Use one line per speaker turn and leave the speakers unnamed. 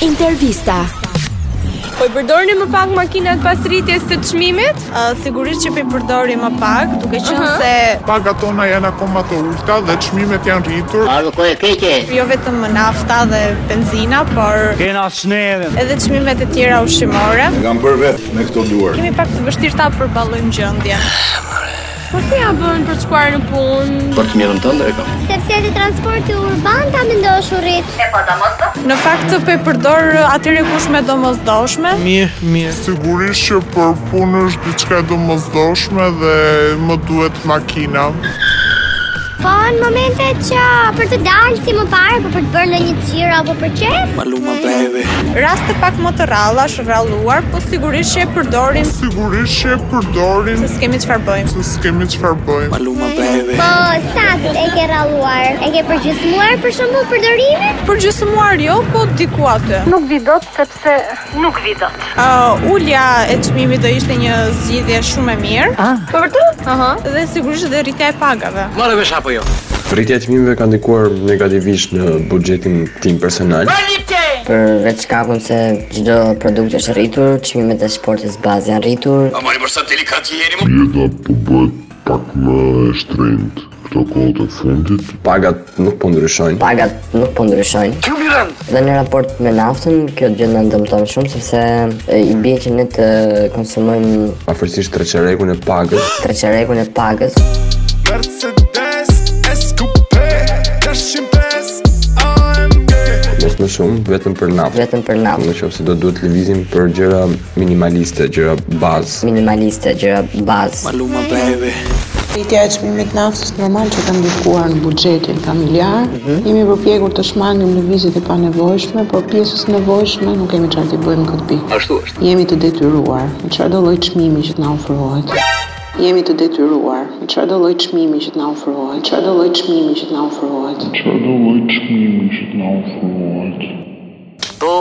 Intervista.
Po i përdorni më pak makinat pas rritjes të çmimit?
Uh, sigurisht që po i përdori më pak, duke qenë
Aha.
se
Pagat tona janë akoma të ulta dhe çmimet janë rritur.
Algo puede que que
jo vetëm nafta dhe benzina, por
Kena snedhen.
edhe çmimet e tjera ushqimore.
E kam bërë vetë me këto duar.
Kemi pak të vështirë ta përballojmë gjendjen.
Po si ja bën për të shkuar në punë?
Por tu me e kam.
sepse edhe transporti urban ta mendosh urrit.
Në fakt po e përdor atyre kush me domosdoshme.
Sigurisht që për punë është diçka e domosdoshme dhe më duhet makina.
Po në momente që për të dalë si më parë, po për të bërë ndonjë xhiro apo për çef,
Raste pak më të rralla, rralluar, po sigurisht që e përdorim
Sigurisht që e përdorin
se s'kemi çfarë bëjmë.
se s'kemi çfarë bëjmë.
po sakt e ke rralluar, e ke përgjysmuar për shembull përdorimin,
Përgjysmuar jo, po diku aty.
Nuk vi dot sepse nuk vi dot.
Uh, ulja e çmimit do ishte një zgjidhje shumë e mirë.
Po vërtet? Aha.
Dhe sigurisht dhe rritja e pagave.
Rritja e çmimeve ka ndikuar negativisht në buxhetin tim personal.
Për vetë shkakun se çdo produkt është rritur, çmimet e sportit bazë janë rritur.
Jeta po bëhet pak më e shtrenjtë këto kohë të fundit.
Pagat nuk po ndryshojnë.
Pagat nuk po ndryshojnë. Dhe në raport me naftën, kjo gjë na dëmton shumë sepse e, i bie që ne të konsumojmë
Afërsisht treçerekun e pagës.
treçerekun e pagës.
Mercedes S-Coupe AMG
Mos më shumë, vetëm për naftë.
vetëm për
Në
naftë
qoftë se do duhet lëvizim për gjëra minimaliste, gjëra bazë.
minimaliste, gjëra bazë.
Rritja e çmimit naftës normal që ka ndikuar në buxhetin familjar. Jemi përpjekur të shmangim lëvizjet e panevojshme, por pjesës e nevojshme nuk kemi çfarë të bëjmë në këtë pikë. Ashtu është. Jemi të detyruar me çfarëdo lloj çmimi që të na ofrohet. Jemi të detyruar me çfarëdo lloj çmimi që të na ofrohet, çfarëdo lloj çmimi që të na ofrohet.
Çfarë do lloj çmimi që të na ofrohet?
Po